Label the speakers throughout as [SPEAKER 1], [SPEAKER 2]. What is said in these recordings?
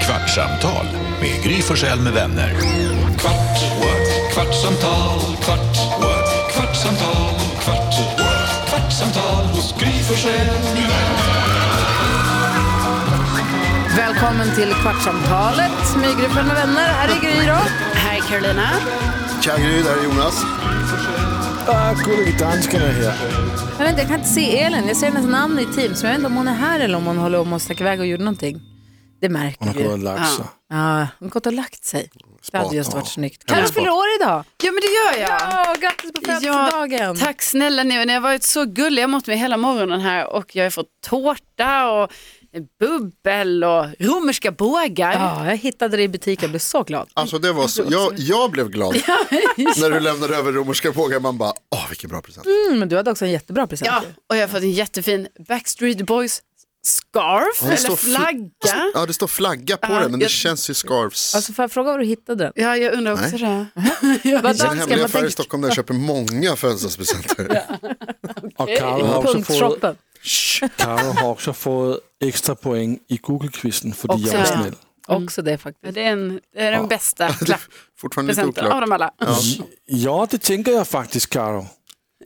[SPEAKER 1] Kvartsamtal med Gry Forssell med vänner. Kvart, what? kvartsamtal, kvart, what? kvartsamtal, kvart, what? kvartsamtal hos Gry Forssell med vänner.
[SPEAKER 2] Välkommen till Kvartsamtalet med Gry Forssell med vänner. Här är Gry då.
[SPEAKER 3] Här är Carolina.
[SPEAKER 4] Tja Gry, där är Jonas.
[SPEAKER 5] Ah, gullig dansken är här.
[SPEAKER 2] Jag, vet inte, jag kan inte se Elin. Jag ser hennes namn i Teams, men jag vet inte om hon är här eller om hon håller om och stack iväg och gjorde någonting. Det märker
[SPEAKER 5] Hon har
[SPEAKER 2] vi.
[SPEAKER 5] gått och lagt sig.
[SPEAKER 2] Ja, hon har gått och lagt sig. Det hade just varit snyggt.
[SPEAKER 5] Ja,
[SPEAKER 2] Carro
[SPEAKER 5] spat.
[SPEAKER 2] fyller år idag.
[SPEAKER 3] Ja, men det gör jag.
[SPEAKER 2] Ja, grattis på födelsedagen.
[SPEAKER 3] tack snälla ni. Ni har varit så gulliga mot mig hela morgonen här och jag har fått tårta och bubbel och romerska bågar.
[SPEAKER 2] Ja, jag hittade det i butiken och blev så glad.
[SPEAKER 4] Alltså det var så, jag, jag blev glad när du lämnade över romerska vågen. Man bara, åh vilken bra present.
[SPEAKER 2] Mm, men du hade också en jättebra present.
[SPEAKER 3] Ja,
[SPEAKER 2] ju.
[SPEAKER 3] och jag har fått en jättefin Backstreet Boys scarf
[SPEAKER 4] det
[SPEAKER 3] eller
[SPEAKER 4] står fl-
[SPEAKER 3] flagga.
[SPEAKER 4] Ja, det står flagga på
[SPEAKER 3] Ja,
[SPEAKER 4] den, men det
[SPEAKER 3] jag-
[SPEAKER 4] känns ju scarves.
[SPEAKER 2] Alltså, får jag fråga var du hittade den?
[SPEAKER 3] Ja, jag undrar också det.
[SPEAKER 2] Vad
[SPEAKER 4] det är en
[SPEAKER 2] dansken,
[SPEAKER 4] hemlig
[SPEAKER 2] vad
[SPEAKER 4] affär i
[SPEAKER 2] tänker
[SPEAKER 4] Stockholm där jag köper många födelsedagspresenter.
[SPEAKER 5] Och Karo har, också fået,
[SPEAKER 2] Punktshoppen.
[SPEAKER 5] Karo har också fått extra poäng i Google-quizen för jag var
[SPEAKER 3] Också, ja.
[SPEAKER 5] snäll.
[SPEAKER 2] Också det faktiskt.
[SPEAKER 3] Det är, en, det är den bästa
[SPEAKER 4] Fortfarande lite
[SPEAKER 3] presenten av
[SPEAKER 4] oklart.
[SPEAKER 3] dem alla.
[SPEAKER 5] Ja, det tänker jag faktiskt Karo.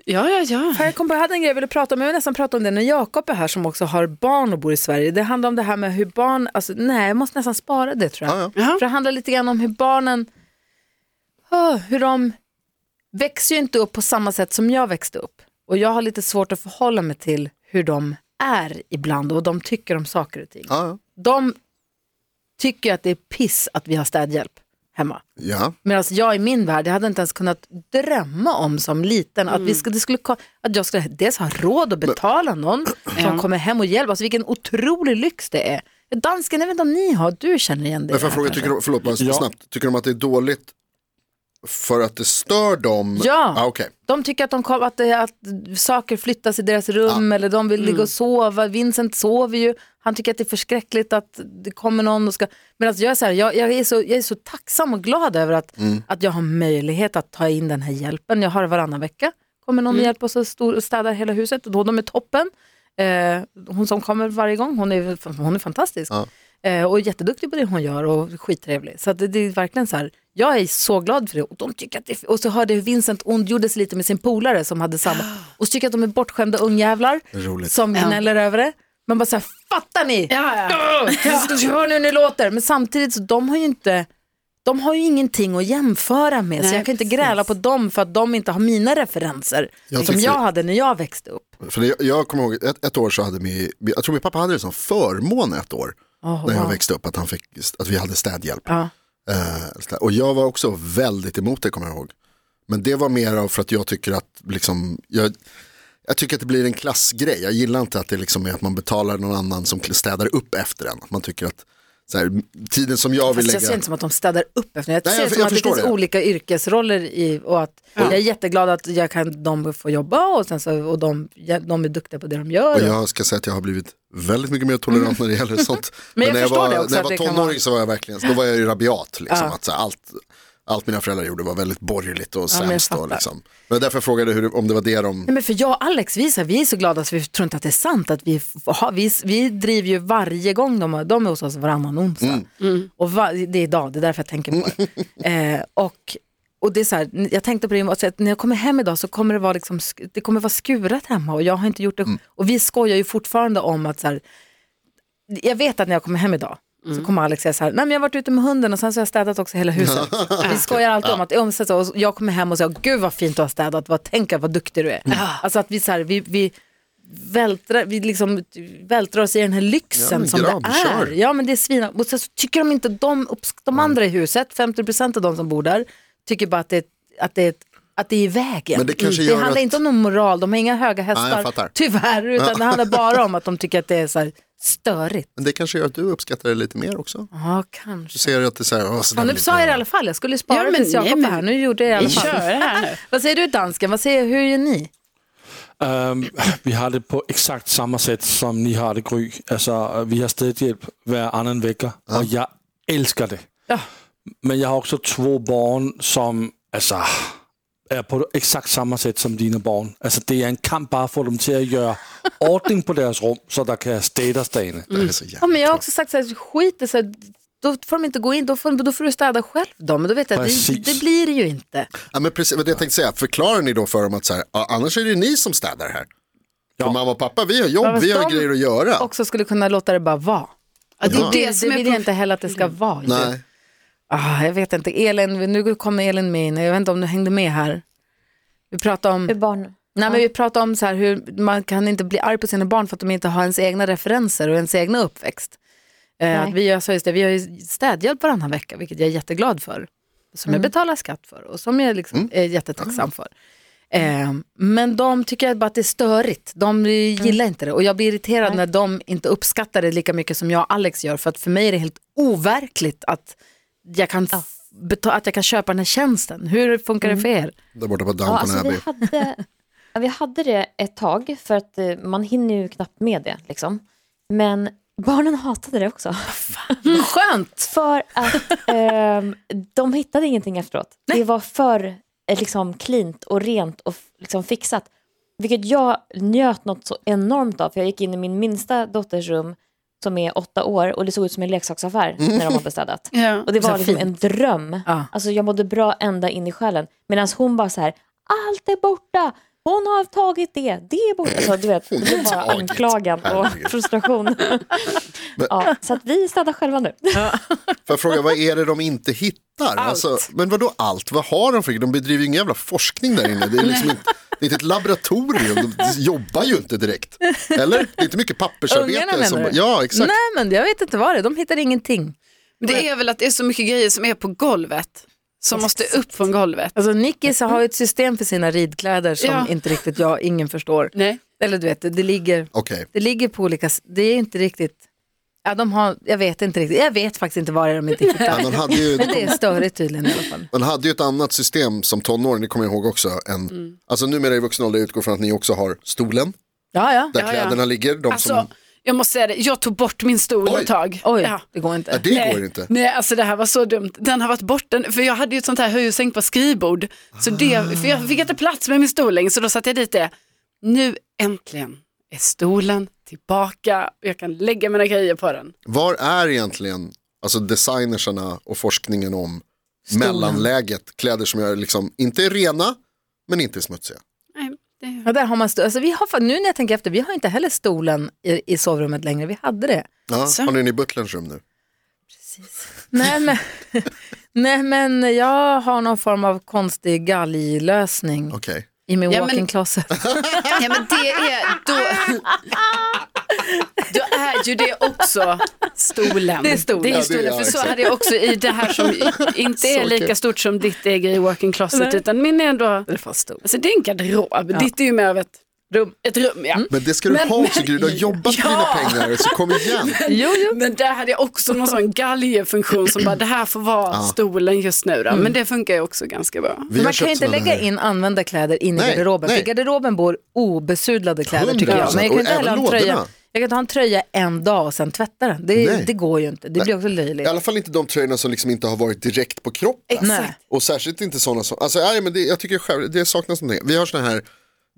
[SPEAKER 3] Ja, ja, ja.
[SPEAKER 2] Jag kom på, jag hade en grej jag ville prata om, men jag vill nästan prata om det när Jakob är här som också har barn och bor i Sverige. Det handlar om det här med hur barn, alltså, nej jag måste nästan spara det tror jag.
[SPEAKER 4] Ja,
[SPEAKER 3] ja.
[SPEAKER 2] För det handlar lite grann om hur barnen, Åh, hur de växer ju inte upp på samma sätt som jag växte upp. Och jag har lite svårt att förhålla mig till hur de är ibland och vad de tycker om saker och ting.
[SPEAKER 4] Ja,
[SPEAKER 2] De tycker att det är piss att vi har städhjälp hemma.
[SPEAKER 4] ja.
[SPEAKER 2] Medan alltså, jag i min värld, jag hade inte ens kunnat drömma om som liten att,
[SPEAKER 4] Mm.
[SPEAKER 2] vi skulle, det skulle, ko- att jag skulle dels ha råd att betala någon som
[SPEAKER 3] Ja.
[SPEAKER 2] kommer hem och hjälper. Alltså vilken otrolig lyx det är. Dansken, jag vet inte om ni har, du känner igen det.
[SPEAKER 4] Men får jag
[SPEAKER 2] här
[SPEAKER 4] fråga,
[SPEAKER 2] kanske?
[SPEAKER 4] tycker de, förlåt bara
[SPEAKER 5] Ja.
[SPEAKER 4] snabbt, tycker de att det är dåligt för att det stör dem?
[SPEAKER 2] Ja.
[SPEAKER 4] Ah, okej.
[SPEAKER 2] De tycker att, de kom, att, det- att saker flyttas i deras rum eller de vill ligga och sova. Vincent sover ju. Han tycker att det är förskräckligt att det kommer någon och ska... Men alltså jag, är så här, jag, jag, är så, jag är så tacksam och glad över att, att jag har möjlighet att ta in den här hjälpen. Jag har det varannan vecka. Kommer någon och hjälper oss och stor- och städar hela huset. Och då, de är toppen. Eh, hon som kommer varje gång, hon är, hon är fantastisk.
[SPEAKER 4] Ja.
[SPEAKER 2] Eh, och är jätteduktig på det hon gör och skittrevlig. Så att det, det är verkligen så här, jag är så glad för det. Och, de tycker att det är, och så hörde jag hur Vincent ondgjorde sig lite med sin polare som hade samma. Och så tycker jag att de är bortskämda ungjävlar
[SPEAKER 4] Roligt.
[SPEAKER 2] som gnäller över det. Man bara så här, fattar ni?
[SPEAKER 3] ja, ja.
[SPEAKER 2] Ja. Hör nu hur ni låter. Men samtidigt så de har ju inte, de har ju ingenting att jämföra med. så
[SPEAKER 3] Nej,
[SPEAKER 2] jag kan inte
[SPEAKER 3] precis.
[SPEAKER 2] gräla på dem för att de inte har mina referenser.
[SPEAKER 4] Jag
[SPEAKER 2] som
[SPEAKER 4] tycker-
[SPEAKER 2] jag hade när jag växte upp.
[SPEAKER 4] För det, jag kommer ihåg ett, ett år så hade min, jag tror min pappa hade det som förmån ett år
[SPEAKER 2] Åh,
[SPEAKER 4] när jag
[SPEAKER 2] wow.
[SPEAKER 4] växte upp att, han fick, att vi hade städhjälp.
[SPEAKER 2] Ja.
[SPEAKER 4] Eh, sådär. och jag var också väldigt emot det kommer jag ihåg. Men det var mer av för att jag tycker att liksom, jag, jag tycker att det blir en klassgrej. Jag gillar inte att det liksom är att man betalar någon annan som städar upp efter en. Att man tycker att så här, tiden som jag vill
[SPEAKER 2] Fast jag
[SPEAKER 4] lägga.
[SPEAKER 2] ser inte som att de städar upp efter. Jag
[SPEAKER 4] Nej,
[SPEAKER 2] ser
[SPEAKER 4] jag-
[SPEAKER 2] som
[SPEAKER 4] jag
[SPEAKER 2] att det
[SPEAKER 4] förstår
[SPEAKER 2] finns
[SPEAKER 4] det.
[SPEAKER 2] olika yrkesroller i, och att jag är jätteglad att jag kan, de får jobba och, sen så, och de, de är duktiga på det de gör.
[SPEAKER 4] Och jag ska säga att jag har blivit väldigt mycket mer tolerant när det gäller sånt.
[SPEAKER 2] Mm. jag
[SPEAKER 4] när jag
[SPEAKER 2] förstår
[SPEAKER 4] var,
[SPEAKER 2] det också,
[SPEAKER 4] när jag
[SPEAKER 2] att det
[SPEAKER 4] var
[SPEAKER 2] kan
[SPEAKER 4] tonåring
[SPEAKER 2] vara-
[SPEAKER 4] så var jag verkligen, då var jag ju rabiat. Liksom, att, så här, allt, allt mina föräldrar gjorde var väldigt borgerligt och
[SPEAKER 2] men jag
[SPEAKER 4] sämst. och,
[SPEAKER 2] fattar.
[SPEAKER 4] liksom. Men därför jag frågade hur, om det var det de...
[SPEAKER 2] Nej, men för jag och Alex, vi är, så här, vi är så glada så vi tror inte att det är sant. Att vi, f- har- vi, vi driver ju varje gång de, har- de är hos oss varannan onsdag.
[SPEAKER 4] Mm.
[SPEAKER 2] Och va, det är idag, det är därför jag tänker på det.
[SPEAKER 4] Mm.
[SPEAKER 2] Eh, och, och det är så här, n- jag tänkte på det, alltså, att när jag kommer hem idag så kommer det vara, liksom, sk- det kommer vara skurat hemma och jag har inte gjort det.
[SPEAKER 4] Mm.
[SPEAKER 2] Och vi skojar ju fortfarande om att så här, jag vet att när jag kommer hem idag
[SPEAKER 4] Mm.
[SPEAKER 2] så kommer Alex säga så här, nej men jag har varit ute med hunden och sen så har jag städat också hela huset. Vi skojar alltid om att om så- så- och jag kommer hem och säger, gud vad fint du har städat, vad, tänk vad duktig du är.
[SPEAKER 4] Mm.
[SPEAKER 2] Alltså att vi, så här, vi, vi, vältrar, vi liksom vältrar oss i den här lyxen
[SPEAKER 4] men
[SPEAKER 2] som
[SPEAKER 4] grabb,
[SPEAKER 2] det är.
[SPEAKER 4] kör.
[SPEAKER 2] Ja men det är svina. Och sen så tycker de inte, de, upps- de andra i huset, 50% av de som bor där, tycker bara att det, att det, är ett- att det är i vägen.
[SPEAKER 4] Men det kanske
[SPEAKER 2] Mm.
[SPEAKER 4] gör
[SPEAKER 2] handlar
[SPEAKER 4] att-
[SPEAKER 2] inte om någon moral, de har inga höga
[SPEAKER 4] Nej, jag
[SPEAKER 2] hästar,
[SPEAKER 4] fattar.
[SPEAKER 2] tyvärr, utan det handlar bara om att de tycker att det är så här störigt.
[SPEAKER 4] Men det kanske gör att du uppskattar det lite mer också.
[SPEAKER 2] Ja,
[SPEAKER 4] Du
[SPEAKER 2] kanske.
[SPEAKER 4] ser att det är så här, "Åh, så där
[SPEAKER 2] Ja, nu
[SPEAKER 4] blir
[SPEAKER 2] sa jag det i
[SPEAKER 4] bra."
[SPEAKER 2] alla fall, jag skulle spara
[SPEAKER 3] Ja, men
[SPEAKER 2] tills Jakob
[SPEAKER 3] nej,
[SPEAKER 2] är
[SPEAKER 3] men-
[SPEAKER 2] här. Nu gjorde jag det i alla
[SPEAKER 3] Vi
[SPEAKER 2] fall.
[SPEAKER 3] kör det här nu.
[SPEAKER 2] Vad säger du dansken, Vad säger, hur gör ni?
[SPEAKER 5] Ehm, vi har det på exakt samma sätt som ni har det Gry. Alltså, vi har städhjälp varannan vecka och jag älskar det.
[SPEAKER 2] Ja.
[SPEAKER 5] Men jag har också två barn som alltså, är på exakt samma sätt som dina barn. Alltså, det är en kamp bara att få dem till att göra ordning på deras rum så att det kan städas där inne.
[SPEAKER 4] Det är så jävla
[SPEAKER 2] Ja, men jag har också sagt så här, skit i så här, då får de inte gå in, då får, då får du städa själv då. Men då vet jag att det,
[SPEAKER 5] Precis.
[SPEAKER 2] det blir det ju inte.
[SPEAKER 4] Ja, men precis, men det jag tänkte säga, förklarar ni då för dem att så här, ja, annars är det ni som städar här. För
[SPEAKER 5] Ja.
[SPEAKER 4] mamma och pappa, vi har jobb,
[SPEAKER 2] Ja,
[SPEAKER 4] vi har
[SPEAKER 2] de-
[SPEAKER 4] grejer att göra.
[SPEAKER 2] Också skulle kunna låta det bara vara.
[SPEAKER 3] Ja, det är
[SPEAKER 2] Det,
[SPEAKER 3] det
[SPEAKER 2] det
[SPEAKER 3] som
[SPEAKER 2] vill
[SPEAKER 3] är
[SPEAKER 2] jag inte heller att det ska vara. ju.
[SPEAKER 4] Nej,
[SPEAKER 2] Ah, jag vet inte, Elin, nu kommer Elin med in. Jag vet inte om du hängde med här. Vi pratade om,
[SPEAKER 6] För barn.
[SPEAKER 2] nej, men vi pratade om så här hur man kan inte bli arg på sina barn för att de inte har ens egna referenser och ens egna uppväxt. Eh,
[SPEAKER 6] Nej.
[SPEAKER 2] att vi, gör, så just det, vi har ju städhjälp varannan vecka, vilket jag är jätteglad för. Som
[SPEAKER 3] Mm.
[SPEAKER 2] jag betalar skatt för och som jag liksom är jättetacksam för. Eh, men de tycker bara att det är störigt. De
[SPEAKER 3] Mm.
[SPEAKER 2] gillar inte det. Och jag blir irriterad när de inte uppskattar det lika mycket som jag och Alex gör. För att för mig är det helt overkligt att jag kan, f- beta- att jag kan köpa den här tjänsten. Hur funkar det
[SPEAKER 3] Mm.
[SPEAKER 2] för er?
[SPEAKER 4] där borta på
[SPEAKER 6] Ja,
[SPEAKER 4] Downton
[SPEAKER 6] alltså, vi,
[SPEAKER 4] Abbey.
[SPEAKER 6] hade, ja, vi hade det ett tag för att eh, man hinner ju knappt med det. Liksom. Men barnen hatade det också.
[SPEAKER 3] Mm.
[SPEAKER 2] Skönt!
[SPEAKER 6] För att ehm, de hittade ingenting efteråt. Det var för eh, liksom, cleant och rent och f- liksom, fixat. Vilket jag njöt något så enormt av. För jag gick in i min minsta dotters rum som är åtta år och det såg ut som en leksaksaffär när de hade städat.
[SPEAKER 3] Ja.
[SPEAKER 6] Och det
[SPEAKER 2] Så
[SPEAKER 6] var liksom
[SPEAKER 2] fint.
[SPEAKER 6] en dröm.
[SPEAKER 2] Ja.
[SPEAKER 6] Alltså jag mådde bra ända in i själen. Medan hon bara så här, allt är borta. Hon har tagit det, det är borta. Alltså, du vet, det var bara
[SPEAKER 4] tagit.
[SPEAKER 6] anklagan och
[SPEAKER 4] Herregud.
[SPEAKER 6] frustration. ja, så att vi städar själva nu.
[SPEAKER 4] Får jag fråga, vad är det de inte hittar? Alltså, men vadå allt? Vad har de för De bedriver ju ingen jävla forskning där inne. Det är liksom inte, det är inte ett laboratorium, de jobbar ju inte direkt. Eller? Det är inte mycket
[SPEAKER 2] Ungarna
[SPEAKER 4] pappersarbete.
[SPEAKER 2] menar
[SPEAKER 4] Som,
[SPEAKER 2] du?
[SPEAKER 4] ja, exakt.
[SPEAKER 2] Nej men jag vet inte vad det är, de hittar ingenting.
[SPEAKER 3] Men Det är väl att det är så mycket grejer som är på golvet. Som måste upp från golvet.
[SPEAKER 2] Alltså Nickis har ju ett system för sina ridkläder som
[SPEAKER 3] Mm. Ja.
[SPEAKER 2] inte riktigt jag, ingen förstår.
[SPEAKER 3] Nej.
[SPEAKER 2] Eller du vet, det ligger,
[SPEAKER 4] Okej,
[SPEAKER 2] det ligger på olika, s- det är inte riktigt, ja, de har, jag vet inte riktigt, jag vet faktiskt inte vad det är de inte hittar.
[SPEAKER 4] men de hade ju...
[SPEAKER 2] Men det är störigt tydligen i alla fall.
[SPEAKER 4] Man hade ju ett annat system som tonåring, det kommer jag ihåg också. En,
[SPEAKER 2] Mm.
[SPEAKER 4] Alltså numera i vuxen ålder jag utgår från att ni också har stolen
[SPEAKER 2] Ja, ja.
[SPEAKER 4] där
[SPEAKER 3] Ja, ja.
[SPEAKER 4] kläderna ligger. De som,
[SPEAKER 3] Alltså, jag måste säga det, jag tog bort min stol
[SPEAKER 4] Oj.
[SPEAKER 3] ett tag.
[SPEAKER 2] Oj,
[SPEAKER 3] Ja.
[SPEAKER 2] det går
[SPEAKER 4] ja,
[SPEAKER 2] inte.
[SPEAKER 4] det
[SPEAKER 3] Nej,
[SPEAKER 4] går inte.
[SPEAKER 3] Nej, alltså det här var så dumt. Den har varit borta, för jag hade ju ett sånt här höj och sänk på skrivbord. Så det, för jag fick inte plats med min stol längre, så då satte jag dit det. Nu äntligen är stolen tillbaka och jag kan lägga mina grejer på den.
[SPEAKER 4] Var är egentligen alltså designersarna och forskningen om mellanläget? Kläder som är liksom, inte är rena, men inte är smutsiga.
[SPEAKER 3] Nej, det...
[SPEAKER 2] Ja, där har man stol. Alltså, vi har, fa- nu när jag tänker efter, vi har inte heller stolen i, i sovrummet längre, vi hade det.
[SPEAKER 4] Ja,
[SPEAKER 3] Så.
[SPEAKER 4] har ni den i butlerns rum nu?
[SPEAKER 2] Nej men, nej, men jag har någon form av konstig galglösning
[SPEAKER 4] Okej.
[SPEAKER 2] i min
[SPEAKER 3] Ja, men-
[SPEAKER 2] walk-in closet.
[SPEAKER 3] Ja, men det är, då, då är ju det också stolen.
[SPEAKER 2] Det är stolen.
[SPEAKER 3] Det
[SPEAKER 4] Ja,
[SPEAKER 3] är
[SPEAKER 4] det
[SPEAKER 3] stolen
[SPEAKER 4] är
[SPEAKER 3] för
[SPEAKER 4] jag,
[SPEAKER 3] så
[SPEAKER 4] exakt.
[SPEAKER 3] hade jag också i det här som inte är
[SPEAKER 4] Så
[SPEAKER 3] lika
[SPEAKER 4] kul.
[SPEAKER 3] stort som ditt är i walk-in closet, utan min är ändå...
[SPEAKER 2] Det är fast stor.
[SPEAKER 3] Alltså det är en garderob, ditt är ju mer av ett rum. Ett rum ja.
[SPEAKER 4] Men det ska du
[SPEAKER 3] Men-
[SPEAKER 4] ha också, Gry. Du har jobbat för dina pengar, så kom igen.
[SPEAKER 2] Jo, jo.
[SPEAKER 3] Men där hade jag också någon sån galgefunktion som bara det här får vara stolen just nu då. Men det funkar ju också ganska bra.
[SPEAKER 4] Vi
[SPEAKER 2] man
[SPEAKER 4] har
[SPEAKER 2] kan
[SPEAKER 4] köpt
[SPEAKER 2] ju inte
[SPEAKER 4] såna
[SPEAKER 2] lägga
[SPEAKER 4] här.
[SPEAKER 2] in använda kläder in i
[SPEAKER 4] Nej,
[SPEAKER 2] garderoben.
[SPEAKER 4] nej.
[SPEAKER 2] För i garderoben bor obesudlade kläder tycker jag.
[SPEAKER 4] 100%,
[SPEAKER 2] Men jag kan
[SPEAKER 4] och
[SPEAKER 2] inte heller
[SPEAKER 4] även
[SPEAKER 2] ha en tröja.
[SPEAKER 4] lådorna.
[SPEAKER 2] Jag kan inte ha en tröja en dag och sen tvätta den. Det,
[SPEAKER 4] Nej.
[SPEAKER 2] det går ju inte. Det blir också löjligt.
[SPEAKER 4] I alla fall inte de tröjorna som liksom inte har varit direkt på kroppen.
[SPEAKER 2] Nej.
[SPEAKER 4] Och särskilt inte sådana som, alltså nej, men det, jag tycker själv, det saknas någonting. Vi har sådana här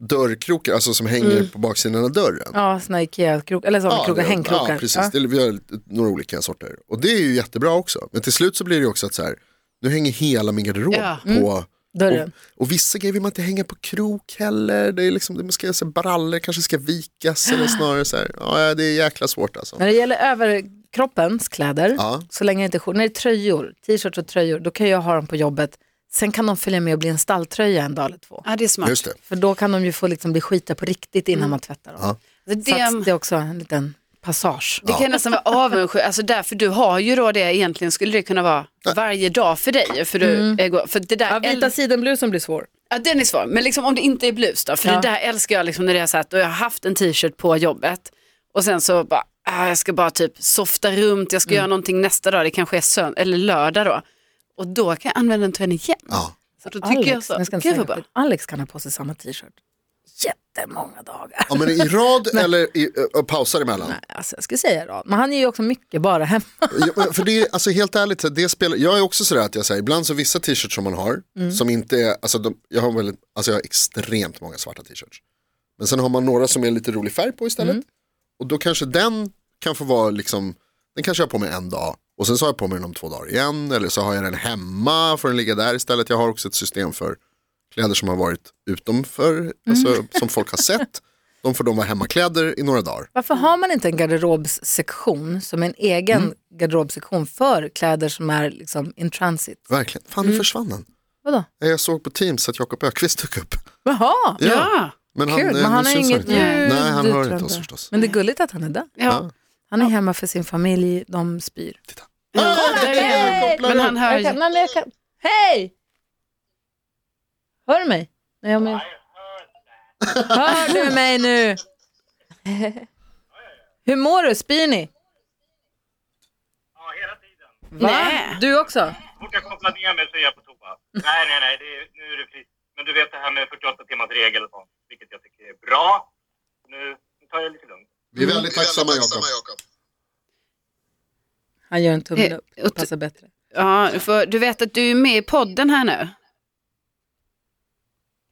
[SPEAKER 4] dörrkrokar, alltså som hänger
[SPEAKER 2] Mm.
[SPEAKER 4] på baksidan av dörren.
[SPEAKER 2] Ja, såna Ikea-krokar, eller såna krokar,
[SPEAKER 4] det-
[SPEAKER 2] hängkrokar.
[SPEAKER 4] Ja, precis.
[SPEAKER 2] Ja.
[SPEAKER 4] Det, vi har lite- några olika sorter. Och det är ju jättebra också. Men till slut så blir det ju också att så här, nu hänger hela min garderob
[SPEAKER 3] Ja.
[SPEAKER 2] Mm.
[SPEAKER 4] på
[SPEAKER 2] Dörren.
[SPEAKER 4] Och, och vissa grejer vill man inte hänga på krok heller. Det är liksom, man ska, så här, brallor kanske ska vikas eller snarare så här. Ja, det är jäkla svårt alltså.
[SPEAKER 2] När det gäller överkroppens kläder,
[SPEAKER 4] Ja.
[SPEAKER 2] så länge det inte är skjortor, när det är tröjor, t-shirts och tröjor, då kan jag ha dem på jobbet. Sen kan de följa med och bli en stalltröja en dag eller två.
[SPEAKER 3] Ja det är smart.
[SPEAKER 4] Just det.
[SPEAKER 2] För då kan de ju få liksom bli skita på riktigt
[SPEAKER 4] Mm.
[SPEAKER 2] innan man tvättar dem.
[SPEAKER 3] Det,
[SPEAKER 2] Så att
[SPEAKER 3] det,
[SPEAKER 2] det är också en liten passage.
[SPEAKER 3] det kan jag nästan vara avundsjuk, alltså därför du har ju då det egentligen skulle det kunna vara varje dag för dig. För, du, eh, går- för det där
[SPEAKER 2] Mm. Ja, vita
[SPEAKER 3] äl-
[SPEAKER 2] sidenblusen blir svår.
[SPEAKER 3] Ja, den är svår. Men liksom, om det inte är blus då? För
[SPEAKER 2] Ja.
[SPEAKER 3] det där älskar jag liksom, när det är så att jag har haft en t-shirt på jobbet och sen så bara, ah, jag ska bara typ softa runt, jag ska göra någonting nästa dag, det kanske är sön- eller lördag då. Och då kan jag använda den tröjan igen.
[SPEAKER 4] Ja.
[SPEAKER 3] Så då tycker
[SPEAKER 2] Alex,
[SPEAKER 3] jag så,
[SPEAKER 2] nu ska jag inte
[SPEAKER 3] gud
[SPEAKER 2] säga
[SPEAKER 3] vad bra.
[SPEAKER 2] något. Alex kan ha på sig samma t-shirt jättemånga dagar.
[SPEAKER 4] Ja, men i rad eller i, ö, pauser emellan?
[SPEAKER 2] Alltså, jag skulle säga rad, men han är ju också mycket bara hemma.
[SPEAKER 4] Ja, men för det är, alltså helt ärligt, så det spelar, jag är också sådär att jag säger, ibland så vissa t-shirts som man har, som inte är, alltså, de, jag har väldigt, alltså jag har extremt många svarta t-shirts. Men sen har man några som är lite rolig färg på istället. Och då kanske den kan få vara liksom, den kanske jag har på mig en dag Och sen så har jag på mig den om två dagar igen. Eller så har jag den hemma, får den ligga där istället. Jag har också ett system för kläder som har varit utomför, alltså, som folk har sett. De får de vara hemmakläder i några dagar.
[SPEAKER 2] Varför har man inte en garderobssektion som en egen garderobssektion för kläder som är liksom in transit?
[SPEAKER 4] Verkligen. Fan, nu försvann den.
[SPEAKER 2] Mm. Vadå?
[SPEAKER 4] Jag såg på Teams att Jakob Ökvist dök upp.
[SPEAKER 2] Jaha,
[SPEAKER 3] Ja.
[SPEAKER 4] Men
[SPEAKER 2] kul.
[SPEAKER 4] eh,
[SPEAKER 2] Men han
[SPEAKER 4] nu
[SPEAKER 2] har
[SPEAKER 4] syns
[SPEAKER 2] inget
[SPEAKER 4] inte.
[SPEAKER 2] ljud.
[SPEAKER 4] Nej, han hör
[SPEAKER 2] tror
[SPEAKER 4] inte
[SPEAKER 2] jag
[SPEAKER 4] oss förstås.
[SPEAKER 2] Men det är gulligt att han är där.
[SPEAKER 3] Ja.
[SPEAKER 2] Han är hemma för sin familj, de spyr.
[SPEAKER 4] Ah,
[SPEAKER 3] Där är den. Men han hör
[SPEAKER 2] Jag
[SPEAKER 3] ju.
[SPEAKER 2] kan, nej, men jag kan. Hej! Hör du mig? Nej, jag men... Hör du mig nu? Hur mår du? Spyr ni?
[SPEAKER 7] Ja, hela tiden.
[SPEAKER 2] Va?
[SPEAKER 3] Nej.
[SPEAKER 2] Du också?
[SPEAKER 7] Så fort jag kopplar ner mig så är jag på toa. Nej, nej, nej, det är, nu är det fritt. Men du vet det här med 48 timmars regel och sånt, vilket jag tycker är bra. Nu, nu tar jag lite lugnt.
[SPEAKER 4] Vi är väldigt tacksamma Jakob.
[SPEAKER 2] Han gör en tummen
[SPEAKER 3] Eh,
[SPEAKER 2] upp.
[SPEAKER 3] och
[SPEAKER 2] Det
[SPEAKER 3] t-
[SPEAKER 2] passar bättre.
[SPEAKER 3] Ja, för du vet att du är med i podden här nu.
[SPEAKER 7] Är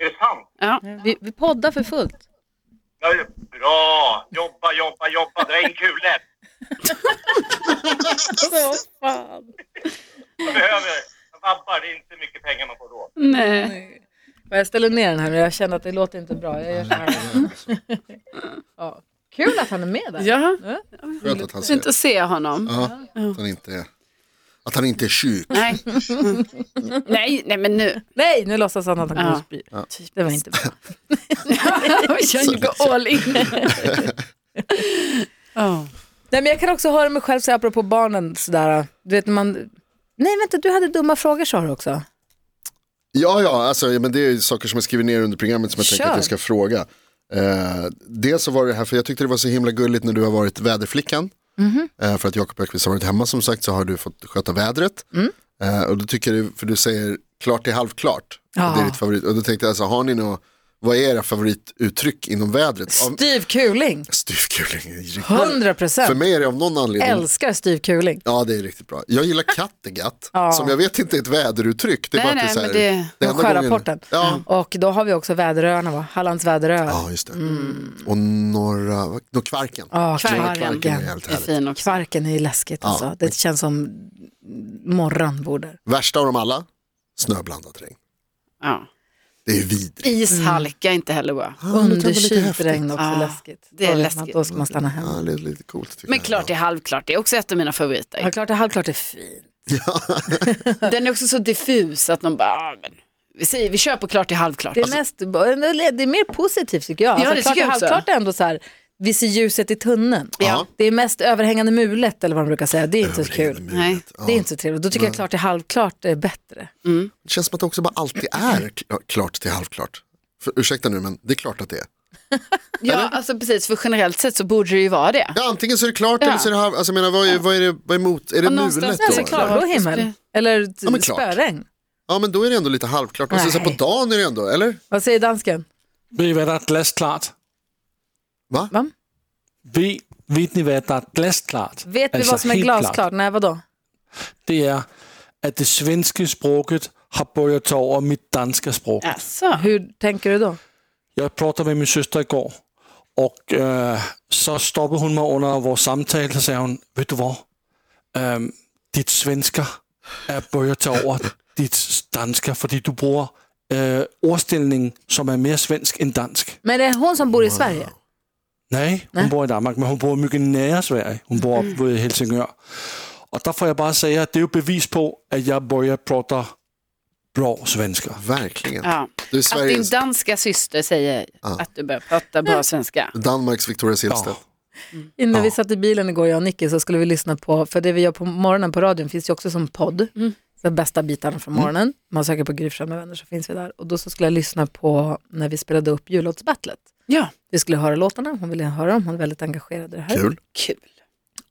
[SPEAKER 7] det sant?
[SPEAKER 3] Ja.
[SPEAKER 2] Vi, vi poddar för fullt.
[SPEAKER 7] Ja, det är bra! Jobba, jobba, jobba, dra in kulor. Jag behöver, jag vabbar, det är inte mycket pengar man får då.
[SPEAKER 3] Nej.
[SPEAKER 2] Men Jag ställer ner den här nu. Jag känner att det låter inte bra. Jag gör så här. ja. Kul att han är med där.
[SPEAKER 3] Ja,
[SPEAKER 4] Skönt att han ser.
[SPEAKER 3] fint att se honom.
[SPEAKER 4] Ja, att, han inte är, att han inte är sjuk.
[SPEAKER 3] Nej. nej, nej men nu.
[SPEAKER 2] Nej, nu låtsas han att han kommer
[SPEAKER 3] Ja.
[SPEAKER 2] att spy. Det var inte bra.
[SPEAKER 3] jag går all in. oh.
[SPEAKER 2] Nej, men jag kan också höra mig själv säga apropå barnen sådär. Du vet när man... Nej vänta, du hade dumma frågor sa du också.
[SPEAKER 4] Ja, ja, alltså, ja, men det är ju saker som jag skriver ner under programmet som jag tänker
[SPEAKER 2] Kör.
[SPEAKER 4] att jag ska fråga. Eh, dels så var det här, för jag tyckte det var så himla gulligt när du har varit väderflickan. Eh, för att Jakob Ekvist har varit hemma som sagt så har du fått sköta vädret. Eh, och då tycker jag, det- för du säger klart till halvklart. Och det är ditt favorit. Och då tänkte jag, alltså, har ni något, vad är era favorituttryck inom vädret? Av-
[SPEAKER 2] Styv kuling,
[SPEAKER 4] Styvkuling. är riktigt-
[SPEAKER 2] 100
[SPEAKER 4] För
[SPEAKER 2] procent.
[SPEAKER 4] mig är det av någon anledning
[SPEAKER 2] Älskar styv kuling.
[SPEAKER 4] Ja, det är riktigt bra. Jag gillar Kattegatt,
[SPEAKER 2] Ja.
[SPEAKER 4] som jag vet inte är ett väderuttryck. Det är
[SPEAKER 3] Nej,
[SPEAKER 4] bara att det är
[SPEAKER 3] nej,
[SPEAKER 4] så här,
[SPEAKER 3] men det-
[SPEAKER 4] det
[SPEAKER 2] Och
[SPEAKER 4] enda gången-
[SPEAKER 2] sjörapporten.
[SPEAKER 4] Ja.
[SPEAKER 2] Och då har vi också väderöarna va? Hallands väderöar.
[SPEAKER 4] ja, just det.
[SPEAKER 3] Mm.
[SPEAKER 4] Och norra, vad- då Kvarken.
[SPEAKER 2] Ja,
[SPEAKER 3] Kvarken.
[SPEAKER 4] Kvarken är
[SPEAKER 2] kvarken.
[SPEAKER 4] helt
[SPEAKER 3] Det är
[SPEAKER 4] härligt.
[SPEAKER 3] fin också.
[SPEAKER 2] Kvarken är ju läskigt alltså. Det känns som morgonbordar.
[SPEAKER 4] Värsta av dem alla, snöblandat regn.
[SPEAKER 3] Ja.
[SPEAKER 4] Det är vidrigt.
[SPEAKER 3] Ishalka är inte heller bra.
[SPEAKER 2] Underkylt regn också,
[SPEAKER 3] Ja,
[SPEAKER 2] läskigt.
[SPEAKER 3] det är
[SPEAKER 2] Då vet
[SPEAKER 3] läskigt.
[SPEAKER 2] Man, då ska man stanna hemma.
[SPEAKER 4] Ja, det är lite coolt tycker
[SPEAKER 3] Men
[SPEAKER 4] jag.
[SPEAKER 3] klart det är halvklart, det är också ett av mina
[SPEAKER 2] Ja,
[SPEAKER 3] favoriter.
[SPEAKER 2] klart det halvklart är fint.
[SPEAKER 3] Den är också så diffus att man bara, ah, men, vi, säger, vi kör på klart till halvklart.
[SPEAKER 2] Det är, mest, det är mer positivt tycker jag. Alltså,
[SPEAKER 3] Alltså- det tycker
[SPEAKER 2] klart,
[SPEAKER 3] jag också.
[SPEAKER 2] Halvklart är ändå så här, vi ser ljuset i tunneln.
[SPEAKER 4] Ja.
[SPEAKER 2] Det är mest överhängande mulet eller vad man brukar säga. Det är inte så kul.
[SPEAKER 3] Nej.
[SPEAKER 2] Det är inte så trevligt. Då tycker jag klart det är halvklart är bättre.
[SPEAKER 4] Det känns som att det också bara alltid är kl- klart till halvklart. För, ursäkta nu, men det är klart att det är.
[SPEAKER 3] Ja, alltså precis, för generellt sett så borde det ju vara det.
[SPEAKER 4] Ja, antingen så är det klart
[SPEAKER 3] Ja.
[SPEAKER 4] eller så är det halv... Alltså, jag menar, vad, är, vad, är det, vad är emot? Är det
[SPEAKER 3] Ja, någonstans
[SPEAKER 4] mulet
[SPEAKER 3] är
[SPEAKER 4] då?
[SPEAKER 2] Alltså
[SPEAKER 3] det
[SPEAKER 4] eller?
[SPEAKER 3] klart.
[SPEAKER 2] klarblå himmel.
[SPEAKER 3] Skulle-
[SPEAKER 2] Eller
[SPEAKER 4] Ja, men klart.
[SPEAKER 2] spöregn.
[SPEAKER 4] Ja, men då är det ändå lite halvklart. Och sen så på
[SPEAKER 2] Nej.
[SPEAKER 4] dagen är det ändå, eller?
[SPEAKER 2] Vad säger dansken?
[SPEAKER 5] Ved I, hvad der er glasklart?
[SPEAKER 4] Va?
[SPEAKER 2] Hvad?
[SPEAKER 5] Ved, ved I, hvad der er glasklart?
[SPEAKER 2] Vet vi vad som är
[SPEAKER 5] helt
[SPEAKER 2] glasklart?
[SPEAKER 5] klart,
[SPEAKER 2] Nej, vadå?
[SPEAKER 5] Det er, at det svenske sproget har bøjet sig over mit danske sprog.
[SPEAKER 3] Alltså.
[SPEAKER 2] Hur tänker du då?
[SPEAKER 5] Jeg pratede med min søster i går, og øh, så stoppede hun mig under vores samtale, så sagde hun, ved du hvor, øh, dit svensker er bøjet sig over dit dansker, fordi du bruger øh, ordstillingen, som er mere svensk end dansk.
[SPEAKER 2] Men det är hon som bor i Sverige.
[SPEAKER 5] Nej, hun
[SPEAKER 2] Nej.
[SPEAKER 5] bor i Danmark, men hun bor mycket nære Sverige. Hun bor oppe ved Helsingør. Og der får jeg bare sige, at det er jo bevis på, at jeg bøjer prater bra svensker.
[SPEAKER 4] Verkligen.
[SPEAKER 3] Ja.
[SPEAKER 4] Du är
[SPEAKER 3] Att din
[SPEAKER 4] Sveriges,
[SPEAKER 3] danska syster säger att du börjar prata bra svenska.
[SPEAKER 4] Danmarks Victoria Silvstedt.
[SPEAKER 2] Innan vi satt i bilen igår, jag och Nicky, så skulle vi lyssna på, för det vi gör på morgonen på radion finns ju också som podd. Så bästa bitarna från morgonen. Man söker på Gry Forssell med vänner så finns vi där. Och då så skulle jag lyssna på när vi spelade upp jullåtsbattlet.
[SPEAKER 3] Ja,
[SPEAKER 2] Vi skulle höra låtarna, hon ville höra dem, hon är väldigt engagerad i det här.
[SPEAKER 4] Kul.
[SPEAKER 3] kul.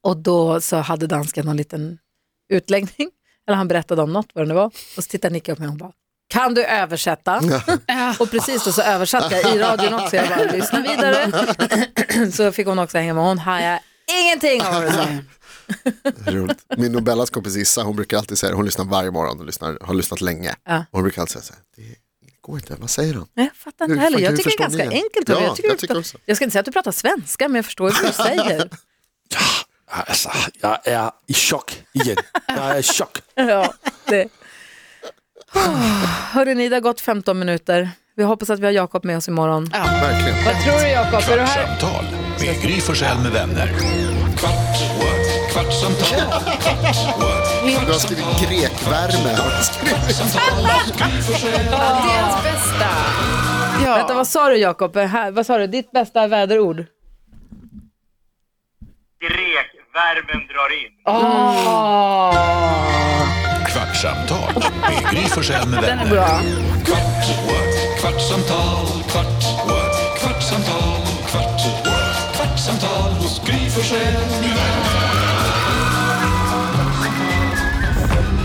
[SPEAKER 2] Och då så hade dansken någon liten utläggning, eller han berättade om något, vad det nu var. Och så tittade Nicky upp mig och hon bara, kan du översätta? och precis då så översatte jag i radion också, jag bara, lyssna vidare. så fick hon också hänga med, hon hajade ingenting av vad det sa.
[SPEAKER 4] Roligt. Min och Bellas kompis Issa, hon brukar alltid säga det, hon lyssnar varje morgon och lyssnar, har lyssnat länge.
[SPEAKER 2] Ja.
[SPEAKER 4] Och hon brukar alltid säga så här, det går inte, vad säger han?
[SPEAKER 2] Nej, jag fattar
[SPEAKER 4] Hur
[SPEAKER 2] inte heller.
[SPEAKER 4] fan
[SPEAKER 2] Jag
[SPEAKER 4] kan du
[SPEAKER 2] tycker det är
[SPEAKER 4] förstå
[SPEAKER 2] ganska
[SPEAKER 4] det?
[SPEAKER 2] enkelt.
[SPEAKER 4] Ja,
[SPEAKER 2] jag, tycker
[SPEAKER 4] jag
[SPEAKER 2] du
[SPEAKER 4] tycker
[SPEAKER 2] pratar-
[SPEAKER 4] också.
[SPEAKER 2] jag ska inte säga att du pratar svenska, men jag förstår ju vad du säger.
[SPEAKER 5] Altså, jeg er i chok igen. Jeg er i chok.
[SPEAKER 2] Ja, det. Hörrni, det har gått 15 minuter. Vi hoppas att vi har Jakob med oss imorgon.
[SPEAKER 4] Verkligen.
[SPEAKER 2] Vad tror du Jakob? Är du här?
[SPEAKER 1] Kvartsamtal med Gry Forssell med vänner. Kvart, what? kvartsamtal, kvart, what?
[SPEAKER 4] Alltså, Du har skrivit grekvärme. Har du skrivit?
[SPEAKER 1] kvartsamtal hos Gry Forssell.
[SPEAKER 3] Det är ens bästa. Ja.
[SPEAKER 2] Vänta, vad sa du Jakob? Eh, här- Vad sa du? Ditt bästa väderord?
[SPEAKER 7] Grekvärmen drar in.
[SPEAKER 1] Kvartsamtal med Gry Forssell med vänner. Kvart, what? kvartsamtal, kvart, what? kvartsamtal, kvart, what? kvartsamtal hos Gry Forssell med vänner.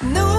[SPEAKER 8] No